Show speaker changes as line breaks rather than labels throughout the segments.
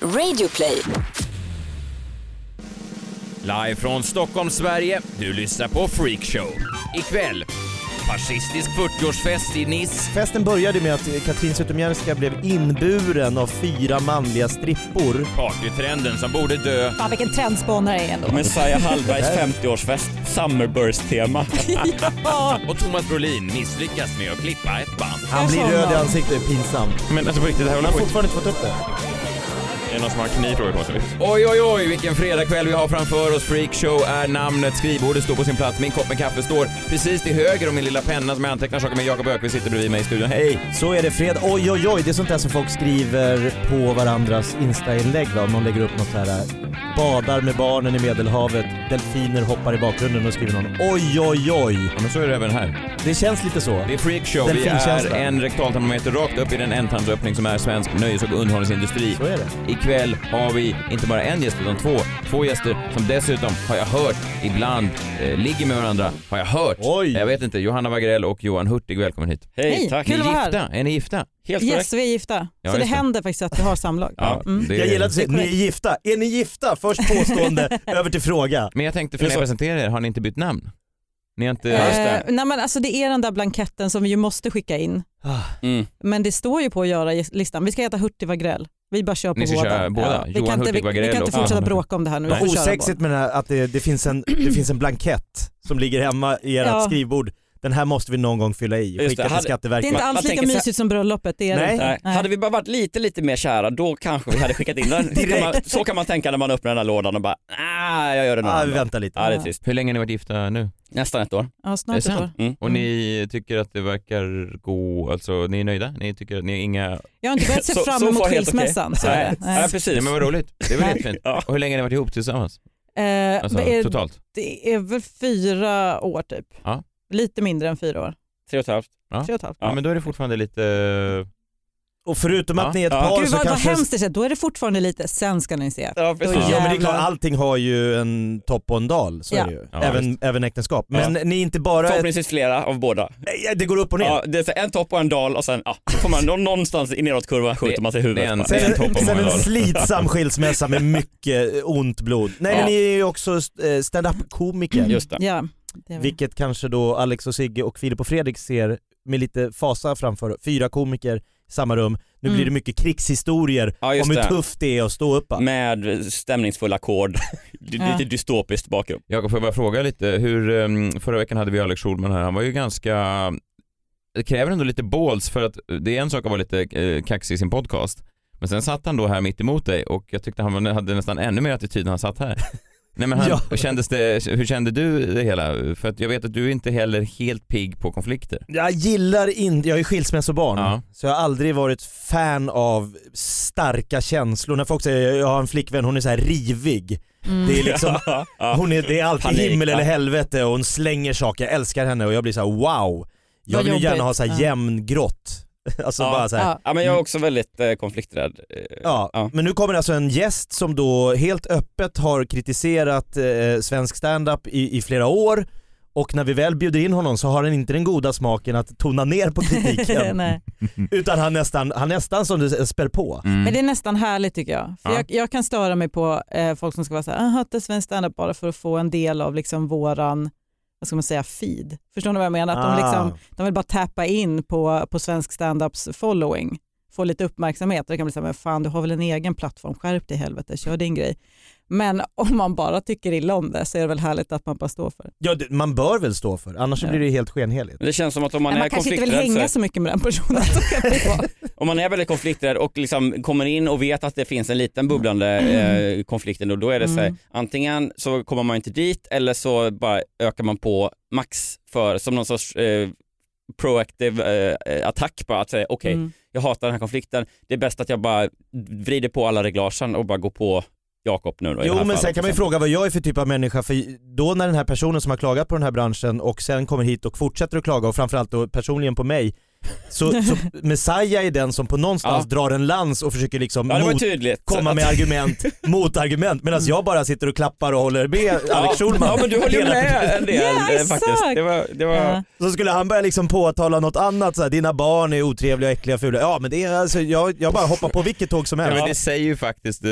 Radioplay.
Live från Stockholm, Sverige. Du lyssnar på Freakshow. Ikväll, fascistisk 40-årsfest i Nice.
Festen började med att Katrin Zytomierska blev inburen av fyra manliga strippor.
Partytrenden som borde dö.
Fan vilken trendspanare jag är ändå.
Messiah Hallbergs 50-årsfest, Summerburst-tema.
Och Thomas Brolin misslyckas med att klippa ett band.
Han blir röd i ansiktet, pinsamt.
Men alltså på riktigt, det här
Han
håller
har
på
fortfarande inte fått upp det.
Är det någon som har kniv frågar på sig?
Oj, oj, oj, vilken fredagkväll vi har framför oss. Freakshow är namnet, skrivbordet står på sin plats, min kopp med kaffe står precis till höger om min lilla penna som jag antecknar saker med. Jakob Ökvist sitter bredvid mig i studion. Hej!
Så är det fred. Oj, oj, oj. Det är sånt där som folk skriver på varandras Insta-inlägg va? Om någon lägger upp något så här. äh, Badar med barnen i Medelhavet, delfiner hoppar i bakgrunden och skriver någon oj, oj, oj.
Ja, men så är det även här.
Det känns lite så.
Det är Freakshow.
Den
Vi är
finkänslan.
en rektaltermometer rakt upp i den ändtarmsöppning som är svensk nöjes och underhållningsindustri.
Så är det.
Ikväll har vi inte bara en gäst utan två. Två gäster som dessutom, har jag hört, ibland eh, ligger med varandra. Har jag hört.
Oj.
Jag vet inte. Johanna Wagrell och Johan Hurtig, välkommen hit.
Hej,
Hej,
tack.
Ni
kul
är
att vara här.
gifta? Är ni gifta?
Helt korrekt.
Yes, vi är gifta.
Ja,
så det
just det.
händer faktiskt att vi har samlag.
Ja,
Mm.
det är-
Jag gillar att du säger ni är gifta. Är ni gifta? Först påstående, över till fråga.
Men jag tänkte, för när jag
Så-
presenterar er, har ni inte bytt namn? Ni har inte...
Ja, just det.
Eh, nej, men alltså, det är den där blanketten som vi ju måste skicka in.
Mm.
Men det står ju på att göra i listan. Vi ska heta Hurtig Wagrell. Vi bara kör på
Ni ska
båda.
köra båda.
vi,
Johan
kan inte,
Hurtig
vi, vi
Wagrell
kan inte
och-
fortsätta
Ja.
bråka om det här nu. Vi
Vad
får köra
osexigt med den här, att det, det, finns en, det finns en blankett som ligger hemma i ert
Ja.
skrivbord. Den här måste vi någon gång fylla i och
Just
skicka
det,
till
båda.
hade-
Det är
Skatteverket.
inte
Man- man
alls lika
tänker så här-
mysigt som bröllopet. Det är
Nej.
Det. inte.
Nej. Hade vi bara varit lite, lite mer kära, då kanske vi hade skickat in den. Så kan man, så kan man tänka när man öppnar den här lådan och bara, ah, jag gör det någon
Ah, vi
annan dag."
väntar lite.
Ja, det är trist.
Hur länge har ni varit gifta nu?
Nästan ett år.
Ja,
Är
snart
det
ett år.
sant?
Mm.
Och ni tycker att det verkar gå, alltså ni är nöjda? Ni tycker att ni är inga...
Jag har inte börjat se
Så-
fram
så
emot
far helt
skilsmässan.
okej.
Så är det.
Nej.
Nej.
Nej, precis.
Nej men vad roligt, det är väl
Ja.
helt fint.
Ja.
Och hur länge har ni varit ihop tillsammans?
Eh,
Alltså
det, är,
totalt?
det är väl fyra år typ.
Ja.
Lite mindre än fyra år.
Tre och ett halvt.
Ja.
Tre och ett halvt.
Ja. men då är det fortfarande lite... eh,
Och förutom
Ja.
att ni är ett
Ja.
par
Gud
så
vad, vad
kanske...
hemskt det känns. Då är det fortfarande lite, sen ska ni se.
Ja,
Då
precis.
Ja men det är
Jävlar.
klart, allting har ju en topp och en dal, så
Ja.
är det ju.
Ja,
även, även äktenskap. Men ni är inte bara ett...
Förhoppningsvis flera av båda.
Nej, Det går upp och ner.
Ja, det är så en topp och en dal och sen ja, så får man nå- någonstans i nedåtkurvan skjuter
Det-
man sig i
det är
huvudet.
en-
bara.
det är
Sen,
topp och
en, sen
många
en
dalar.
slitsam skilsmässa med mycket eh, ont blod. Nej men
Ja.
ni är ju också eh, stand-up-komiker.
Just det.
Ja, det är väl-
Vilket kanske då Alex och Sigge och Filip och Fredrik ser med lite fasa framför. Fyra komiker i samma rum. Nu
Mm.
blir det mycket krigshistorier
Ja, just
om hur
det. Mm.
tufft det är att stå upp. va?
Med stämningsfull ackord,
Ja.
lite dystopiskt bakgrund.
Jakob får jag bara fråga lite, hur, ehm, förra veckan hade vi Alex Schulman här, han var ju ganska, det kräver ändå lite balls för att det är en sak att vara lite eh, kaxig i sin podcast, men sen satt han då här mitt emot dig och jag tyckte han var- hade nästan ännu mer attityd när han satt här. Nej, men han,
Ja.
och kändes det, hur kände du det hela? För att jag vet att du är inte heller helt pigg på konflikter.
Jag gillar inte, jag är skilsmässobarn,
Ja.
så jag har aldrig varit fan av starka känslor. När folk säger jag har en flickvän, hon är så här rivig.
Mm.
Det är liksom, hon är, det är alltid
Panik,
himmel
ja.
eller helvete och hon slänger saker. Jag älskar henne och jag blir så här: wow. Jag
Vad
vill ju gärna
jobbigt.
ha så här
Ja.
jämn grått. Alltså
Ja.
bara så här. Ja.
Ja.
Ja, men jag är också väldigt eh, konflikträdd. Eh, ja.
men nu kommer alltså en gäst som då helt öppet har kritiserat eh, svensk standup i, i flera år och när vi väl bjuder in honom så har han inte den goda smaken att tona ner på kritiken.
Nej.
Utan han nästan, han nästan som du säger, spär på.
Mm.
Mm.
Men det är nästan härligt tycker jag. För
Ja.
jag, jag kan störa mig på eh, folk som ska vara så här, "Ah, hatar svensk standup bara för att få en del av liksom våran, vad ska man säga, feed. Förstår ni vad jag menar? Att
Ah.
de, liksom, de vill bara tappa in på, på svensk standups following, få lite uppmärksamhet. Och det kan bli så här, men fan du har väl en egen plattform, skärp dig i helvete, kör din grej. Men om man bara tycker illa om det så är det väl härligt att man bara står för det.
ja, det- man bör väl stå för annars så
Ja.
blir det helt skenheligt.
Men Det känns som att om man,
Man, man
är
kanske inte vill
konflikträdd, så-
hänga så mycket med den personen. Så kan det vara.
om man är väldigt konflikträdd och liksom kommer in och vet att det finns en liten bubblande eh, konflikt och då är det så här,
Mm.
antingen så kommer man inte dit eller så bara ökar man på max för som någon sorts eh, proaktiv eh, attack bara att säga okej,
Mm.
jag hatar den här konflikten, det är bäst att jag bara vrider på alla reglagen och bara går på Jakob nu då, i det
Jo
här
men
fallet,
sen kan man ju
liksom.
fråga vad jag är för typ av människa för då när den här personen som har klagat på den här branschen och sen kommer hit och fortsätter att klaga och framförallt då personligen på mig Så, så Messiah är den som på någonstans
Ja.
drar en lans och försöker liksom
Ja det var typ-
mot,
tydligt.
komma med argument, motargument medan jag bara sitter och klappar och håller med Alex Schulman.
Ja men du höll ju
Hela
med en del
Yeah,
eh, faktiskt.
exakt.
Det var, det var,
Ja.
Så skulle han börja liksom påtala något annat, så här, dina barn är otrevliga och äckliga och fula. Ja men det är alltså, jag, jag bara hoppar på vilket tåg som
Ja,
helst.
men det säger ju faktiskt eh,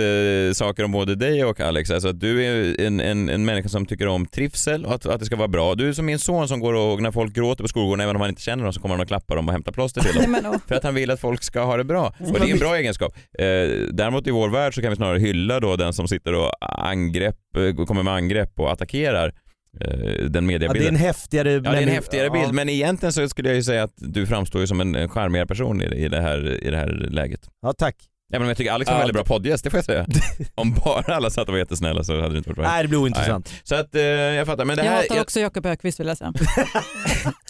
saker om både dig och Alex. Alltså att du är en, en, en människa som tycker om trivsel och att, att det ska vara bra. Du är som min son som går och när folk gråter på skolgården, även om han inte känner dem, så kommer han och klappar dem och hämtar plåster till
Nej,
dem.
men, åh.
För att han vill att folk ska ha det bra. Och det är en bra egenskap. Eh, däremot i vår värld så kan vi snarare hylla då den som sitter och angrepp, eh, kommer med angrepp och attackerar eh, den
Ja, det är en
mediebilden.
häftigare
Ja, det är en
människa-
häftigare
Ja.
bild, men egentligen så skulle jag ju säga att du framstår ju som en en charmigare person i, i, det, här, i det här läget.
Ja tack.
Även om jag tycker Alex var en
Ja,
väldigt bra poddgäst, det får jag säga. Om bara alla satt och var jättesnälla så hade det inte varit bra.
Nej det blir ointressant.
Så att eh, jag fattar. Men det
jag
här,
hatar också Jakob Ökvist vill jag säga.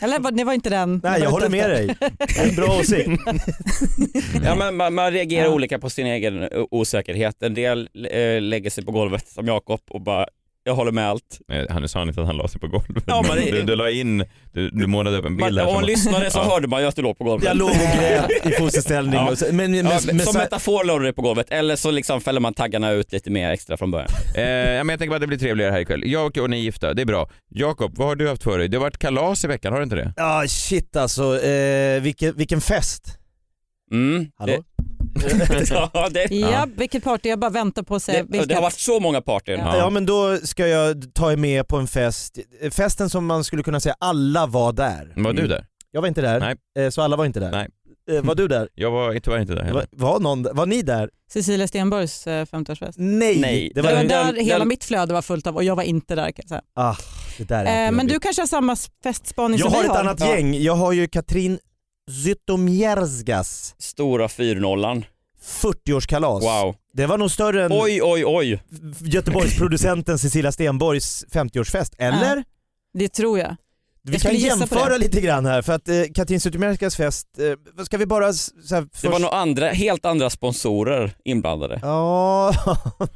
Eller var- det var inte den.
Nej jag håller med dig. Det är en bra åsikt.
Ja, men man, man reagerar
Ja.
olika på sin egen o- osäkerhet. En del eh, lägger sig på golvet som Jakob och bara jag håller med allt.
Eh, han sa inte att han la sig på golvet,
Ja,
men
men det-
du, du la in, du, du målade upp en bild
Man,
här.
om
som-
man lyssnade så
Ja.
hörde man ju att du låg på golvet.
Jag låg och grät i fosterställning.
Ja.
Och så- Men, men,
ja,
men,
som
så-
metafor låg du dig på golvet eller så liksom fäller man taggarna ut lite mer extra från början.
Eh, ja, men jag tänker bara att det blir trevligare här ikväll. Jag och, och ni är gifta, det är bra. Jakob, vad har du haft för dig? Det har varit kalas i veckan, har det inte det?
Ja shit alltså, eh, vilken, vilken fest.
Mm.
Hallå?
Det, ja, det,
Ja, vilket party. Jag bara väntar på att se
det,
vilket.
det har varit så många partyn.
Ja.
Ja. men då ska jag ta er med på en fest. Festen som man skulle kunna säga alla var där.
Var du
Mm.
där?
Jag var inte där,
Nej.
Eh, så alla var inte där.
Nej.
Eh, var du där?
Jag var tyvärr inte där
Var,
heller.
var, någon, var ni där?
Cecilia Stenborgs eh, 50-årsfest.
Nej!
Nej.
Det
Det
var,
var
den-
där
den-
hela
den-
mitt flöde var fullt av och jag var inte där kan jag säga.
ah, det där är
Eh,
alltid
men du
jobbigt.
kanske har samma festspaning
Jag
som
har
vi
ett
har?
annat
Ja.
gäng. Jag har ju Katrin Zytomierskas
Stora 4-0.
40-årskalas.
Wow.
Det var nog större än
Oj, oj, oj.
Göteborgsproducenten Cecilia Stenborgs 50-årsfest, eller?
Det tror jag.
Vi
Jag
kan
skulle gissa på
jämföra
det.
lite grann här för att eh, Katrin Zytomierskas fest, eh, vad ska vi bara s- så här, först...
Det var nog andra, helt andra sponsorer inblandade.
Ja,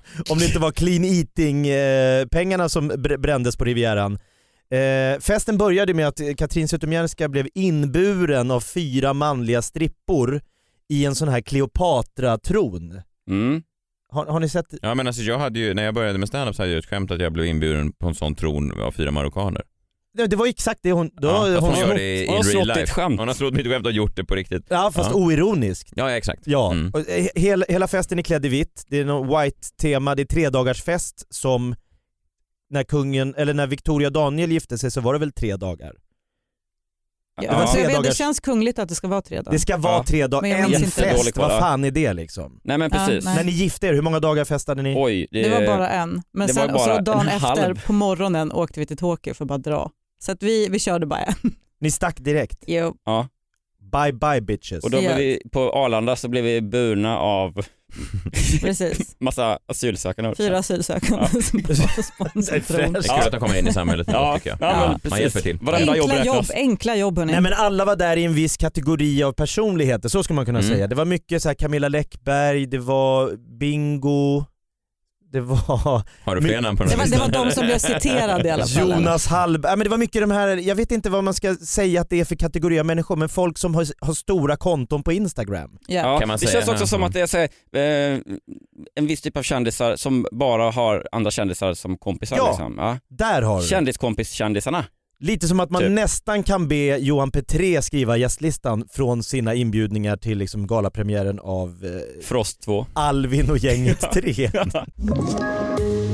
om det inte var clean eating eh, pengarna som br- brändes på Rivieran. Eh, festen började med att eh, Katrin Zytomierska blev inburen av fyra manliga strippor i en sån här Kleopatra-tron.
Mm.
Har, har ni sett?
Ja men alltså jag hade ju, när jag började med standup så hade jag ett skämt att jag blev inbjuden på en sån tron av fyra marockaner.
Nej, Det var exakt det hon... Då,
Ja, fast hon
hon,
gör det i, i
Hon har
real
snott
life.
ditt skämt.
Hon har snott mitt skämt och gjort det på riktigt.
ja fast
Ja.
oironiskt.
Ja exakt.
Ja,
Mm.
och eh, he- hela, hela festen är klädd i vitt, det är någon white tema, det är tredagarsfest som när kungen, eller när Victoria Daniel gifte sig så var det väl tre dagar?
Ja.
Det var
alltså, jag vet, det
tredagars-
känns kungligt att det ska vara tre dagar.
Det ska vara
Ja.
tre
Men
dagar,
jag
en
minns inte.
fest,
Dålig koll,
vad
ja.
fan är det liksom?
Nej men
Ja,
precis.
nej.
När ni gifte er, hur många dagar festade ni?
Oj,
Det var bara en. Men
det
sen,
var
och så
bara
dagen
en halv.
efter på morgonen åkte vi till Tokyo för att bara dra. Så att vi, vi körde bara en.
Ni stack direkt.
Jo.
Ja.
Bye bye bitches.
Och då
Ja.
blev vi, på Arlanda så blev vi burna av
Precis.
massa asylsökande. också.
Fyra asylsökande som bara sponsrar tron.
Det är kul att de kommer in i samhället ja.
Ja,
tycker
ja,
jag.
men
Ja,
precis.
man hjälper till. Mm.
Varenda jobb
Enkla jobb,
räknas.
enkla jobb hörni.
Nej men alla var där i en viss kategori av personligheter, så skulle man kunna
Mm.
säga. Det var mycket så här Camilla Läckberg, det var Bingo, det var
Har du fler
Men-
namn på den
Det
här
var, det
listan?
var de som blev citerade i alla fall. eller?
Jonas Hallberg, ja, men det var mycket de här, jag vet inte vad man ska säga att det är för kategori av människor, men folk som har, har stora konton på Instagram.
Ja.
Ja,
Kan man
det
säga
känns
nu?
också som att det är så här, eh, en viss typ av kändisar som bara har andra kändisar som kompisar.
Ja.
Liksom. Ja.
Där har du det.
Kändiskompis-kändisarna.
Lite som att man
Typ.
nästan kan be Johan Petré skriva gästlistan från sina inbjudningar till liksom galapremiären av eh,
Frost 2.
Alvin och gänget 3.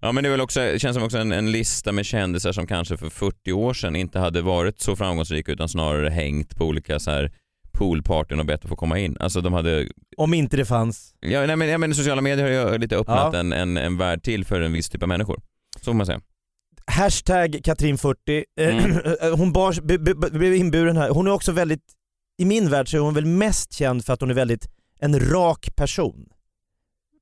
Ja men det är väl också, känns som också en, en lista med kändisar som kanske för 40 år sedan inte hade varit så framgångsrika utan snarare hängt på olika så här poolpartyn och bett att få komma in. Alltså de hade,
Om inte det fanns.
ja, nej, men, ja, men sociala medier har ju lite öppnat
Ja.
en, en, en värld till för en viss typ av människor. Så får man säga.
Hashtag Katrin40. Eh, Hon bars, be, be, be, blev inburen här. Hon är också väldigt i min värld så är hon väl mest känd för att hon är väldigt en rak person.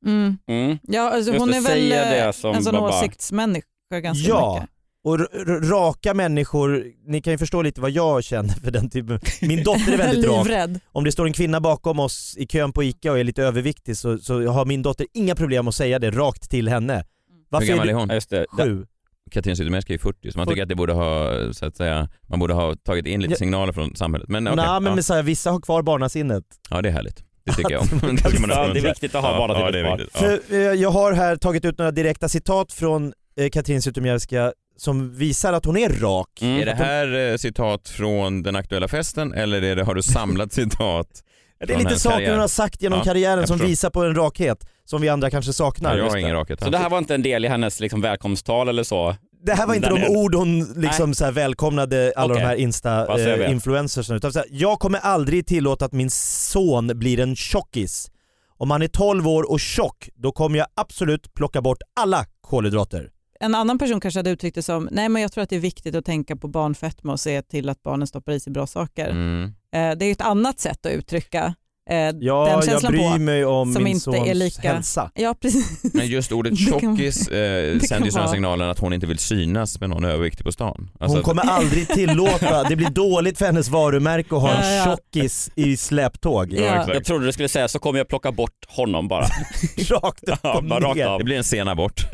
Mm.
Mm.
Ja, alltså
Just
hon
det,
är väl
säga
eh,
det som
en sån
Baba.
åsiktsmänniska ganska
ja,
mycket.
och r- r- raka människor, ni kan ju förstå lite vad jag känner för den typen. Min dotter är väldigt rak.
Livrädd.
Om det står en kvinna bakom oss i kön på ICA och är lite överviktig så, så har min dotter inga problem att säga det rakt till henne.
Hur
Varför
gammal
är
är
du
hon?
Ja, just det. Da-
sju?
Katrin Zytomierska är ju 40 så man tycker att det borde ha, så att säga, man borde ha tagit in lite
Ja.
signaler från samhället. Men okej,
Nej, men,
ja.
men så här, vissa har kvar barnasinnet.
ja det är härligt. Det tycker jag om.
Ja, det är
Ja, det är
uppmuntra.
viktigt att ha
Ja,
bara
ja,
till
det
ett
är
barn.
viktigt. Ja.
För, eh, jag har här tagit ut några direkta citat från eh, Katrin Zytomierska som visar att hon är rak.
Mm.
Är det här eh, citat från den aktuella festen eller är det, har du samlat citat?
det är
från
lite
hennes
saker
karriär.
hon har sagt genom
Ja,
karriären
jag
som
förstår.
visar på en rakhet som vi andra kanske saknar.
Nej, jag
just
har
det.
ingen rakhet.
Så det här var inte en del i hennes liksom, välkomsttal eller så?
Det här var inte
Daniel.
de ord hon liksom så här välkomnade alla
Okej.
de här
Vad säger vi?
Insta-influencers utan så här, jag kommer aldrig tillåta att min son blir en tjockis. Om han är 12 år och tjock, då kommer jag absolut plocka bort alla kolhydrater.
En annan person kanske hade uttryckt det som, nej men jag tror att det är viktigt att tänka på barnfetma och se till att barnen stoppar i sig bra saker.
Mm.
Eh, det är ju ett annat sätt att uttrycka eh, den
Ja, jag
känslan
bryr
på.
mig om
som
min
inte
sons
är lika-
hälsa.
Ja, precis.
Men just ordet
Det kan-
tjockis eh,
kan
sänder ju sådana
vara-
signaler att hon inte vill synas med någon överviktig på stan. Alltså
Hon
att-
kommer aldrig tillåta, det blir dåligt för hennes varumärke att ha
Ja, ja.
en tjockis i släptåg.
Ja.
Jag trodde du skulle säga så kommer jag plocka bort honom bara.
Rakt upp
Ja,
och
bara rakt
ner.
av.
Det blir en sen abort.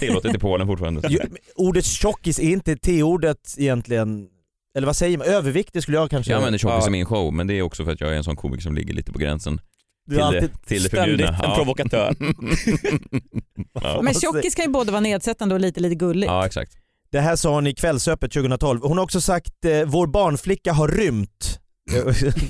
Tillåtet i Polen fortfarande.
Jo, men Ordet tjockis är inte T-ordet egentligen, eller vad säger man? Överviktig skulle jag kanske
Jag använder tjockis
Ja.
i min show men det är också för att jag är en sån komiker som ligger lite på gränsen
Du
till,
är
det,
alltid,
till det
Ständigt
förbjudna.
en provokatör.
Ja.
Men tjockis kan ju både vara nedsättande och lite, lite gulligt.
Ja exakt.
Det här sa hon i Kvällsöppet 2012. Hon har också sagt eh, “Vår barnflicka har rymt”.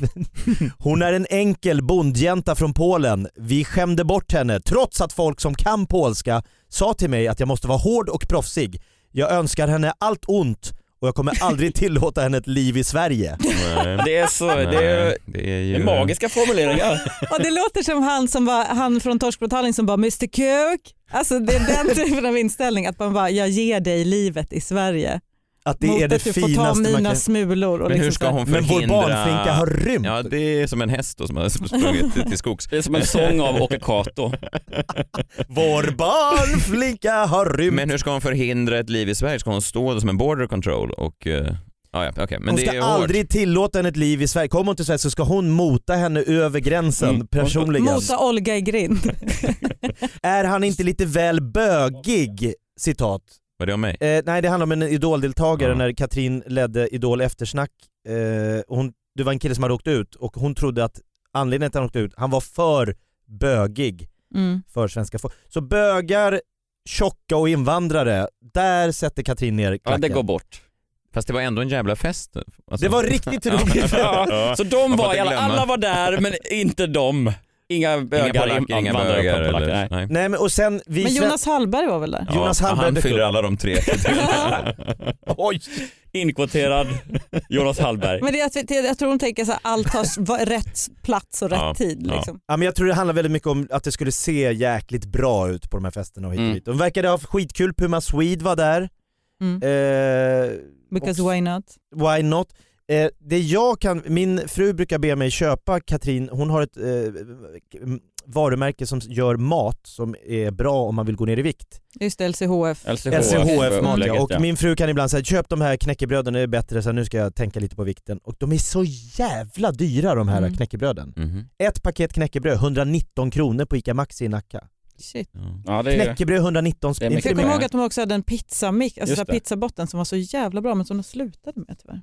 hon är en enkel bondjänta från Polen. Vi skämde bort henne trots att folk som kan polska sa till mig att jag måste vara hård och proffsig. Jag önskar henne allt ont och jag kommer aldrig tillåta henne ett liv i Sverige.
Nej.
Det är så, det är,
Nej, det är
det är
ju...
magiska formuleringar.
Och det låter som han, som var, han från Torskbrottalning som bara “Mr Kuk”. Alltså det är den typen av inställning, att man bara “jag ger dig livet i Sverige”.
Att det
Mot
är det
att du får ta
finaste man
mina
kan...
smulor. Och
Men hur
liksom så
ska
här-
hon
Men
förhindra...
vår barnflicka har rymt.
Ja det är som en häst då, som har sprungit till- till skogs.
Det är som en sång av Åke Cato.
Vår barnflicka har rymt.
Men hur ska hon förhindra ett liv i Sverige? Ska hon stå där som en border control och... Uh, ja, ja, okej. Men
hon
det
ska
är hårt.
aldrig tillåta henne ett liv i Sverige. Kommer hon till Sverige så ska hon mota henne över gränsen
Mm.
personligen.
Mosa Olga i grind.
Mm. Är han inte lite väl bögig? Citat.
Var det om mig?
Eh, nej det handlar om en idoldeltagare
Ja.
när Katrin ledde idol eftersnack. Eh, hon, det var en kille som hade åkt ut och hon trodde att anledningen till att han åkte ut, han var för bögig
Mm.
för svenska folk. Så bögar, tjocka och invandrare, där sätter Katrin ner
Ja,
klacken.
det går bort.
Fast det var ändå en jävla fest. Alltså-
Det var riktigt
Ja.
roligt.
Ja. Så de
Man får
var,
inte
alla,
glömma.
alla var där men inte de. Inga
Inga
bögar,
polacker, inga
invandrare,
bögar
polacker,
eller...
nej.
Nej.
Nej men och sen vi
Men
sven-
Jonas Hallberg var väl där?
Ja,
Jonas Hallberg
Han
dök
fyller
upp.
alla de tre.
Oj! Inkvoterad Jonas Hallberg.
Men det, är att vi- det- jag tror de tänker så här, allt har s- va- rätt plats och rätt
Ja,
tid.
ja.
Liksom.
Ja, men jag tror det handlar väldigt mycket om att det skulle se jäkligt bra ut på de här festerna och hit och
Mm.
dit. De verkade ha skitkul, Puma Swede var där.
Mm.
Eh,
Because
och-
why not?
Why not? Eh, det jag kan, min fru brukar be mig köpa, Katrin, hon har ett eh, varumärke som gör mat som är bra om man vill gå ner i vikt.
Just det, LCHF.
LCHF.
LCHF-mat ja.
upplägget,
Och min fru kan ibland säga köp de här knäckebröden, det är bättre, så här, nu ska jag tänka lite på vikten. Och de är så jävla dyra de här
Mm.
knäckebröden.
Mhm.
Ett paket knäckebröd, 119 kronor på ICA Maxi i Nacka.
Shit.
Ja.
Ja, det är,
Knäckebröd 119
Det är
spänn. Inte
Jag
mycket
mer.
kommer
mer.
ihåg att de också hade en pizzamix, alltså
Just
så här
det.
pizzabotten som var så jävla bra men som de slutade med tyvärr.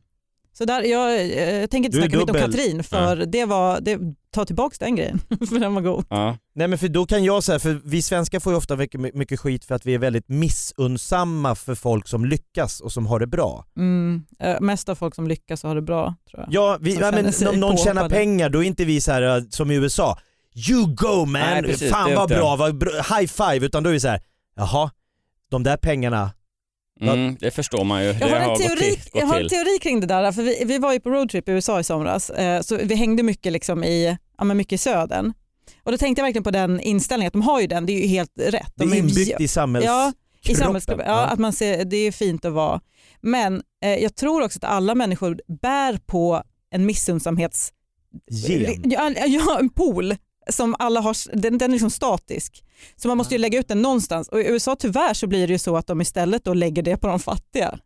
Så där, jag, eh, jag tänker
Du
inte
är
snacka mitt om
dubbel.
Katrin för det var, det, ta tillbaka den grejen för den var god.
ja.
Nej men för då kan jag säga, för vi svenskar får ju ofta mycket, mycket skit för att vi är väldigt missunnsamma för folk som lyckas och som har det bra.
Mm. eh, Mest av folk som lyckas och har det bra tror jag.
Ja, vi,
Som
ja men
känner sig
om någon tjänar
påhoppade.
pengar då är inte vi så här äh, som i USA, you go man,
Nej, precis, det
fan
är
vad
inte-
bra, vad bra, high five, utan då är vi så här, jaha, de där pengarna,
Mm, det förstår man ju.
Jag
det
har, en
gått
teori,
till- gått
jag har en
till.
teori kring det där, för vi, vi var ju på roadtrip i USA i somras, eh, så vi hängde mycket, liksom i, ja, men mycket i södern. Och då tänkte jag verkligen på den inställningen, att de har ju den, det är ju helt rätt.
det
De
är
ju-
inbyggt i samhälls...
ja, i
kroppen.
samhällskroppen.
Ja.
Ja, att man ser, det är fint att vara. Men eh, jag tror också att alla människor bär på en missundsamhets...
Gen.
Ja, ja, en pool som alla har, den, den är liksom statisk. Så man måste ju lägga ut den någonstans och i USA tyvärr så blir det ju så att de istället då lägger det på de fattiga.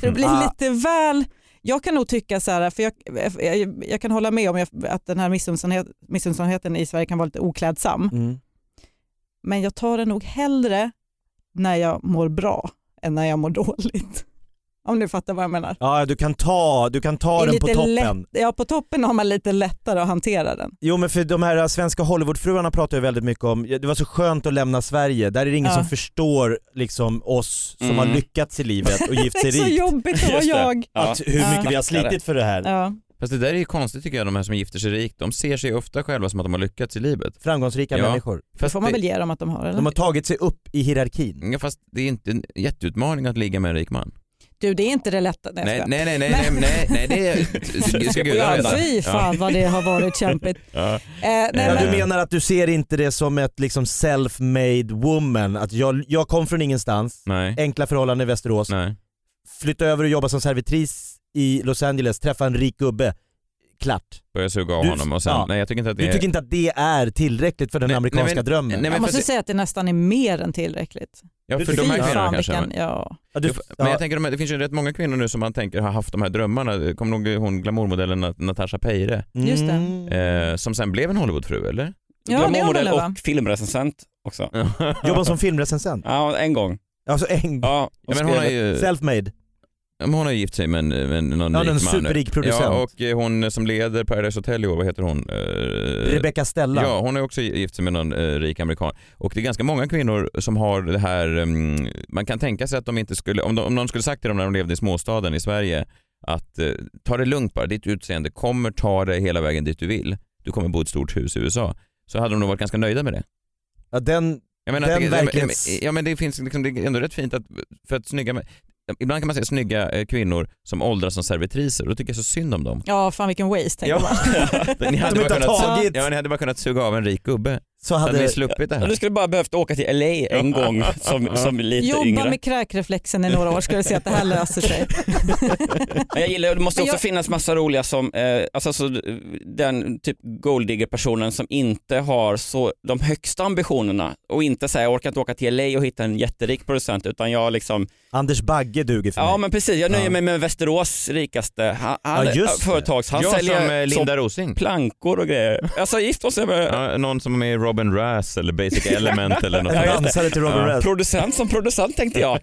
Så det blir
Ah.
lite väl, jag kan nog tycka så här, för jag, jag, jag kan hålla med om jag, att den här missundsamhet, missundsamheten i Sverige kan vara lite oklädsam,
Mm.
men jag tar den nog hellre när jag mår bra än när jag mår dåligt. Om du fattar vad jag menar.
Ja, du kan ta, du kan
Det
ta
är
den på
lite
toppen.
lätt- ja, på toppen har man lite lättare att hantera den.
Jo men för de här äh, svenska Hollywoodfruarna pratar ju väldigt mycket om, det var så skönt att lämna Sverige, där är det ingen
Ja.
som förstår liksom oss som
Mm.
har lyckats i livet och gift
Det
sig
är så
rikt.
jobbigt att vara
Just det.
jag.
Ja.
Att hur mycket
Ja.
vi har slitit för det här.
Ja.
Fast det där är ju konstigt tycker jag, de här som gifter sig rikt, de ser sig ofta själva som att de har lyckats i livet.
Framgångsrika
Ja.
människor.
Det
Fast
får man
det,
väl ge dem att de har. Eller?
De har tagit sig upp i hierarkin.
Ja, fast det är inte en jätteutmaning att ligga med en rik man.
Du det är inte det lätta.
Nej,
jag skojar. Alltså,
nej, nej, nej, nej, nej, nej det är, det ska gudarna veta.
Fy fan vad det har varit kämpigt.
Ja.
Eh, nej,
Ja, du
men,
menar att du ser inte det som ett liksom self-made woman, att jag, jag kom från ingenstans,
Nej,
enkla förhållanden i Västerås,
nej.
flytta över och jobba som servitris i Los Angeles, träffa en rik gubbe, klart.
Börja suga av
Du-
honom och sen,
ja.
nej jag tycker inte att det
Du tycker inte att det är tillräckligt för den
Nej,
amerikanska
nej, men-
drömmen?
nej, men
jag måste
för att-
säga att det nästan är mer än tillräckligt.
ja, för de
du-
här
Fy
kvinnorna
fan
kanske.
vilken-
men-
ja.
Jo,
ja, du,
för- Men
ja,
jag tänker, de här- det finns ju rätt många kvinnor nu som man tänker har haft de här drömmarna. Kommer nog hon glamourmodellen Nat- Natasha Peire?
just det.
Mm.
Eh, som sen blev en Hollywoodfru eller?
Ja, det har hon
Glamourmodell
väl, va?
och filmrecensent också.
Jobbar som filmrecensent.
Ja, en gång.
Alltså en gång.
Ja,
Ja, men hon, har ju,
Selfmade.
men hon har ju gift sig med, en- med någon
Ja,
rik
en
man nu.
superrik producent.
Ja, och eh, hon som leder Paradise Hotel i år, vad heter hon? Eh,
Rebecca Stella.
Ja, hon är också gift sig med någon eh, rik amerikan. Och det är ganska många kvinnor som har det här, mm, man kan tänka sig att de inte skulle, om, de, om någon skulle sagt till dem när de levde i småstaden i Sverige att eh, ta det lugnt bara, ditt utseende kommer ta dig hela vägen dit du vill. Du kommer bo i ett stort hus i USA. Så hade de nog varit ganska nöjda med det.
Ja, den,
Jag menar
Den
att det,
verklighets-
ja, men det finns liksom, det är ändå rätt fint att, för att snygga, ibland kan man säga snygga eh, kvinnor som åldras som servitriser och då tycker jag så synd om dem.
ja, fan vilken waste tänker man.
Ni hade,
De
bara
inte
kunnat,
har tagit.
ja, ni hade bara kunnat suga av en rik gubbe.
så
Så hade ni
hade...
sluppit det här.
Ja, Du skulle bara behövt åka till LA en gång som, som lite
Jobba
yngre.
med kräkreflexen i några år ska du se att det här löser sig.
Men jag gillar, det måste
Men
också
jag-
finnas massa roliga som, eh, alltså, så, den typ golddigger-personen som inte har så, de högsta ambitionerna och inte säger jag orkar inte åka till LA och hitta en jätterik producent utan jag liksom,
Anders Bagge duger för
ja
mig.
men precis, jag nöjer
Ja.
mig med Västerås rikaste han, han,
Ja, just det.
företags, han
jag som eh,
säljer
Linda Rosing.
plankor och grejer. Alltså gift oss med
Ja, någon som är med i Robin Rass eller Basic Element eller något
Jag
sånt.
dansade till Robin
Ja.
Rask.
producent som producent tänkte jag.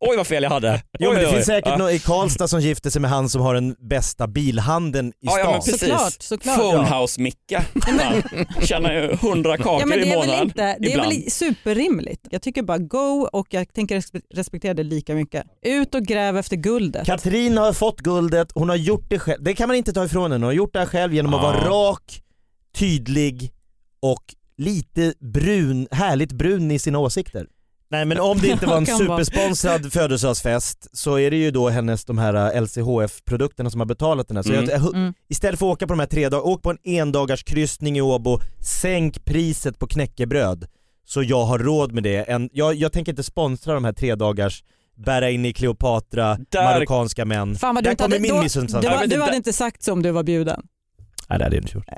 Oj vad fel jag hade.
Jo men
Oj,
det
oj,
finns
oj.
säkert
Ja.
någon i Karlstad som gifte sig med han som har den bästa bilhandeln i
Ja, ja, men
stan.
precis.
Såklart, såklart.
Phonehouse-Micke. Han Tjänar ju hundra kakor
Ja, men det
i
är väl,
månaden.
inte, det är
ibland.
väl superrimligt. Jag tycker bara go och jag tänker respe- respektera det lika mycket. Ut och gräv efter guldet.
Katrin har fått guldet, hon har gjort det själv. Det kan man inte ta ifrån henne. Hon har gjort det här själv genom att
Ja.
vara rak, tydlig och lite brun, härligt brun i sina åsikter. Nej men om det inte var en
Kan vara.
supersponsrad födelsedagsfest så är det ju då hennes de här eh, LCHF-produkterna som har betalat den här. Så
Mm.
jag, jag,
Mm.
istället för att åka på de här tre dagarna, åk på en endagars kryssning i Åbo, sänk priset på knäckebröd så jag har råd med det. En, jag, jag tänker inte sponsra de här tre dagars bära in i Kleopatra,
Där-
marockanska män.
Fan vad du
Där
inte
kommer
hade,
min
då-
missunnsamhet.
du,
Ja,
var-
men det
du hade
där-
inte sagt så om du var bjuden.
Nej det hade jag inte gjort.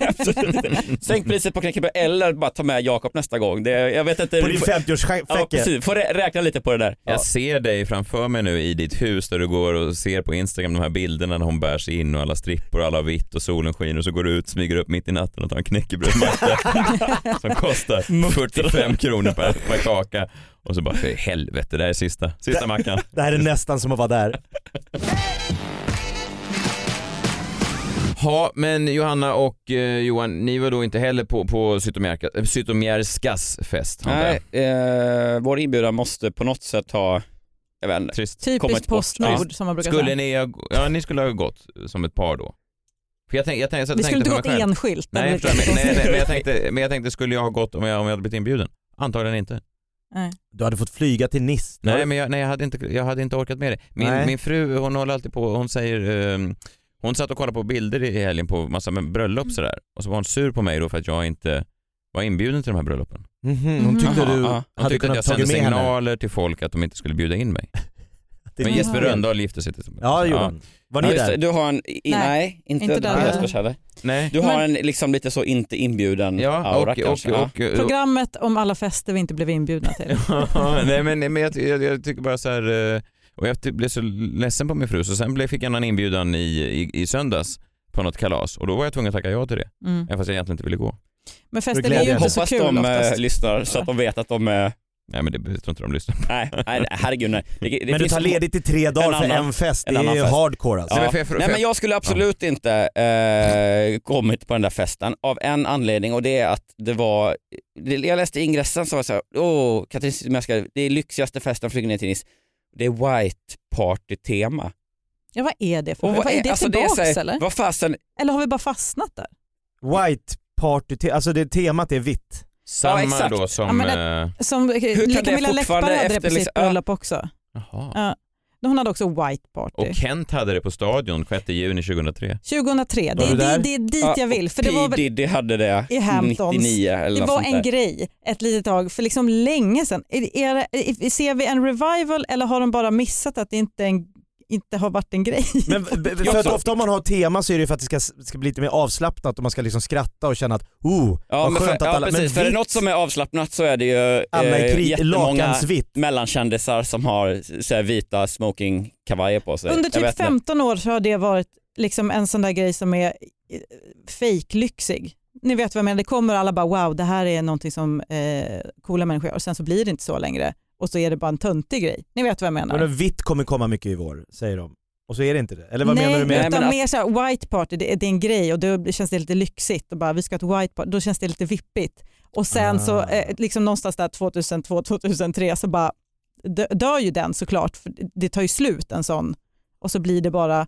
Sänk priset på knäckebröd eller bara ta med Jakob nästa gång. Det, jag vet inte.
På din
Får-
50-årsfäcke.
ja, precis. Får rä- räkna lite på det där.
Jag ser dig framför mig nu i ditt hus där du går och ser på Instagram de här bilderna när hon bär sig in och alla strippor och alla har vitt och solen skiner och så går du ut, smyger upp mitt i natten och tar en knäckebrödsmacka som kostar 45 kronor per, per kaka och så bara för helvete, det här är sista, sista mackan.
Det här är nästan som att vara där.
Ja, men Johanna och eh, Johan, ni var då inte heller på, på Zytomierka- eh, Zytomierskas fest? antar jag.
Nej, eh, vår inbjudan måste på något sätt ha, jag vet inte.
Trist.
Kommer
Typiskt
inte bort.
Postnord som man brukar
Skulle
säga.
ni, ha, ja, ni skulle ha gått som ett par då? För jag tänkte, jag tänkte, jag
Vi skulle
tänkte
inte
för
gått
mig själv.
enskilt.
Nej,
eller
jag förstår, men,
liksom.
nej, nej men, jag tänkte, men jag tänkte, skulle jag ha gått om jag, om jag hade blivit inbjuden? Antagligen inte.
Nej.
Du hade fått flyga till Nice. Du
Nej,
hade-
men jag, nej, jag, hade, inte, jag hade inte orkat med det. Min,
Nej.
min fru, hon håller alltid på, hon säger, ehm, hon satt och kollade på bilder i helgen på massa med bröllop sådär. Och så var hon sur på mig då för att jag inte var inbjuden till de här bröllopen.
Mhm, Hon tyckte
Mhm.
du
Aha,
Hon
hade
tyckte att jag
kunnat
sände
tagit med henne.
signaler till folk att de inte skulle bjuda in mig.
Det är
Men
din
Jesper
fel.
Rönndahl gifte sig till exempel.
Ja, det gjorde han. Var ni
Ja, just det.
där?
Du har en, i, nej,
Nej,
inte,
inte
där.
där.
Jespers heller.
Nej.
Du har en liksom lite så inte inbjuden
Ja, och,
aura
och,
kanske.
och,
ja.
och, och,
Programmet om alla fester vi inte blev inbjudna till. Mm.
Ja, nej men, men jag, jag, jag tycker bara så här, eh, och jag ty- blev så ledsen på min fru så sen blev, fick jag en inbjudan i, i, i söndags på något kalas och då var jag tvungen att tacka ja till det.
Mm.
Även fast jag egentligen inte ville gå.
Men
Du
fester
glädjer
är ju
dig.
inte så
Hoppas
kul
de eh,
oftast.
lyssnar så att de vet att de är...
Nej men det jag tror inte de lyssnar.
Nej, nej herregud nej. Det, det
Men du
finns-
tar ledigt i tre dagar för
annan-
en fest,
en
det är
annan
ju
fest.
hardcore alltså.
Nej,
Ja.
men för- för-
Nej
för-
men jag skulle absolut inte eh, kommit på den där festen av en anledning och det är att det var, det, jag läste ingressen så var det så här, åh Katrin Zytomierska, det är lyxigaste festen flyger ner till Nice. Det är white party tema.
Ja, vad är det för vad är, det
alltså,
tillbaks
så här,
eller?
Vad fasen,
Eller har vi bara fastnat där?
White party, te- alltså det temat är vitt.
Ja,
Samma
exakt.
då som...
Ja, men
eh,
Som
kan det
Camilla Läckberg
fortfarande
hade det
efter
på sitt
liksom-
bröllop också.
jaha.
Ja. Hon hade också white party.
Och Kent hade det på Stadion 6 juni 2003.
2003, det
Var du
är, det,
där?
det är dit
Ja,
jag vill. För det var, väl,
P Diddy hade det
i Hamptons.
99 eller
det
något
var
sånt
en
där.
grej ett litet tag, för liksom länge sedan. Är, är, är, ser vi en revival eller har de bara missat att det inte, är en, inte har varit en grej?
Men b- b- för att ofta om man har tema så är det ju för att det ska, ska bli lite mer avslappnat och man ska liksom skratta och känna att oh,
Ja,
vad
men för,
skönt att
ja,
alla...
precis, för är det
vitt,
något som är avslappnat så är det ju
alla är
eh,
kri-
jättemånga
lakansvitt.
mellankändisar som har så här, vita smokingkavajer på sig.
Under
Jag vet
typ
inte.
15 år så har det varit liksom en sån där grej som är eh, fejklyxig. Ni vet vad jag menar, det kommer och alla bara wow det här är någonting som eh, coola människor gör och sen så blir det inte så längre och så är det bara en töntig grej. Ni vet vad jag menar.
Men vitt kommer komma mycket i vår, säger de. Och så är det inte det. Eller vad
Nej,
menar du med
Nej,
utan
men att-
mer så här, white party, det är, det är en grej och då känns det lite lyxigt och bara vi ska ha ett white party, då känns det lite vippigt. Och sen
Ah.
så eh, liksom någonstans där 2002-2003 så bara dö- dör ju den såklart, för det tar ju slut en sån och så blir det bara,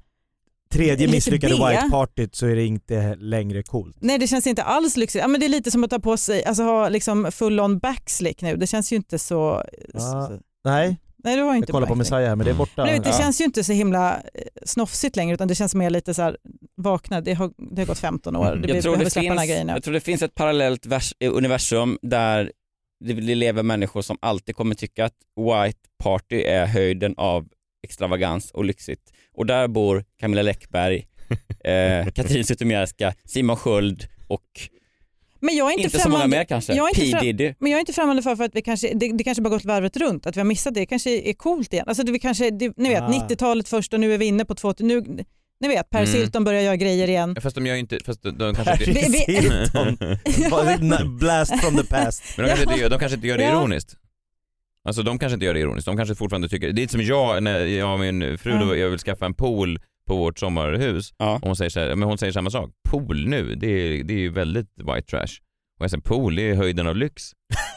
tredje
lite
misslyckade
B.
white partyt så är det inte längre coolt?
nej det känns inte alls lyxigt, ja, men det är lite som att ta på sig, alltså ha liksom full on backslick nu, det känns ju inte så,
Ah.
så
Nej,
nej du har ju
jag
inte
kollar på
backslick.
Messiah här men det är borta.
Men du vet,
Ja.
det känns ju inte så himla eh, snofsigt längre utan det känns mer lite så här vakna, det har, det har gått 15 år, det, vi
Mm. Jag tror,
behöver
det
släppa den här
finns,
grejen nu.
jag tror det finns ett parallellt vers, eh, universum där det lever människor som alltid kommer tycka att white party är höjden av extravagans och lyxigt. Och där bor Camilla Läckberg, eh, Katrin Zytomierska, Simon Sköld och
Men jag är
inte,
inte,
så många
främmande,
mer kanske.
jag är inte
P
främ-
Diddy.
men jag är inte främmande för, för att vi kanske, det, det kanske bara gått varvet runt, att vi har missat det. Det kanske är coolt igen. Alltså det, vi kanske, det, ni vet,
Ah.
90-talet först och nu är vi inne på 2000. Nu, ni vet, Per
Mm.
Silton börjar göra grejer igen.
Fast de gör ju inte... Fast de, de kanske inte...
Vi- vi-
Hilton. Bara na- Blast from the past.
Men de kanske inte gör, de kanske inte gör det
Ja.
ironiskt. Alltså de kanske inte gör det ironiskt. De kanske fortfarande tycker... Det är som jag när jag och min fru då,
Ja.
jag vill skaffa en pool på vårt sommarhus.
Ja.
Och hon, säger så här, men hon säger samma sak. Pool nu, det är, det är ju väldigt white trash. Och jag säger pool, det är höjden av lyx.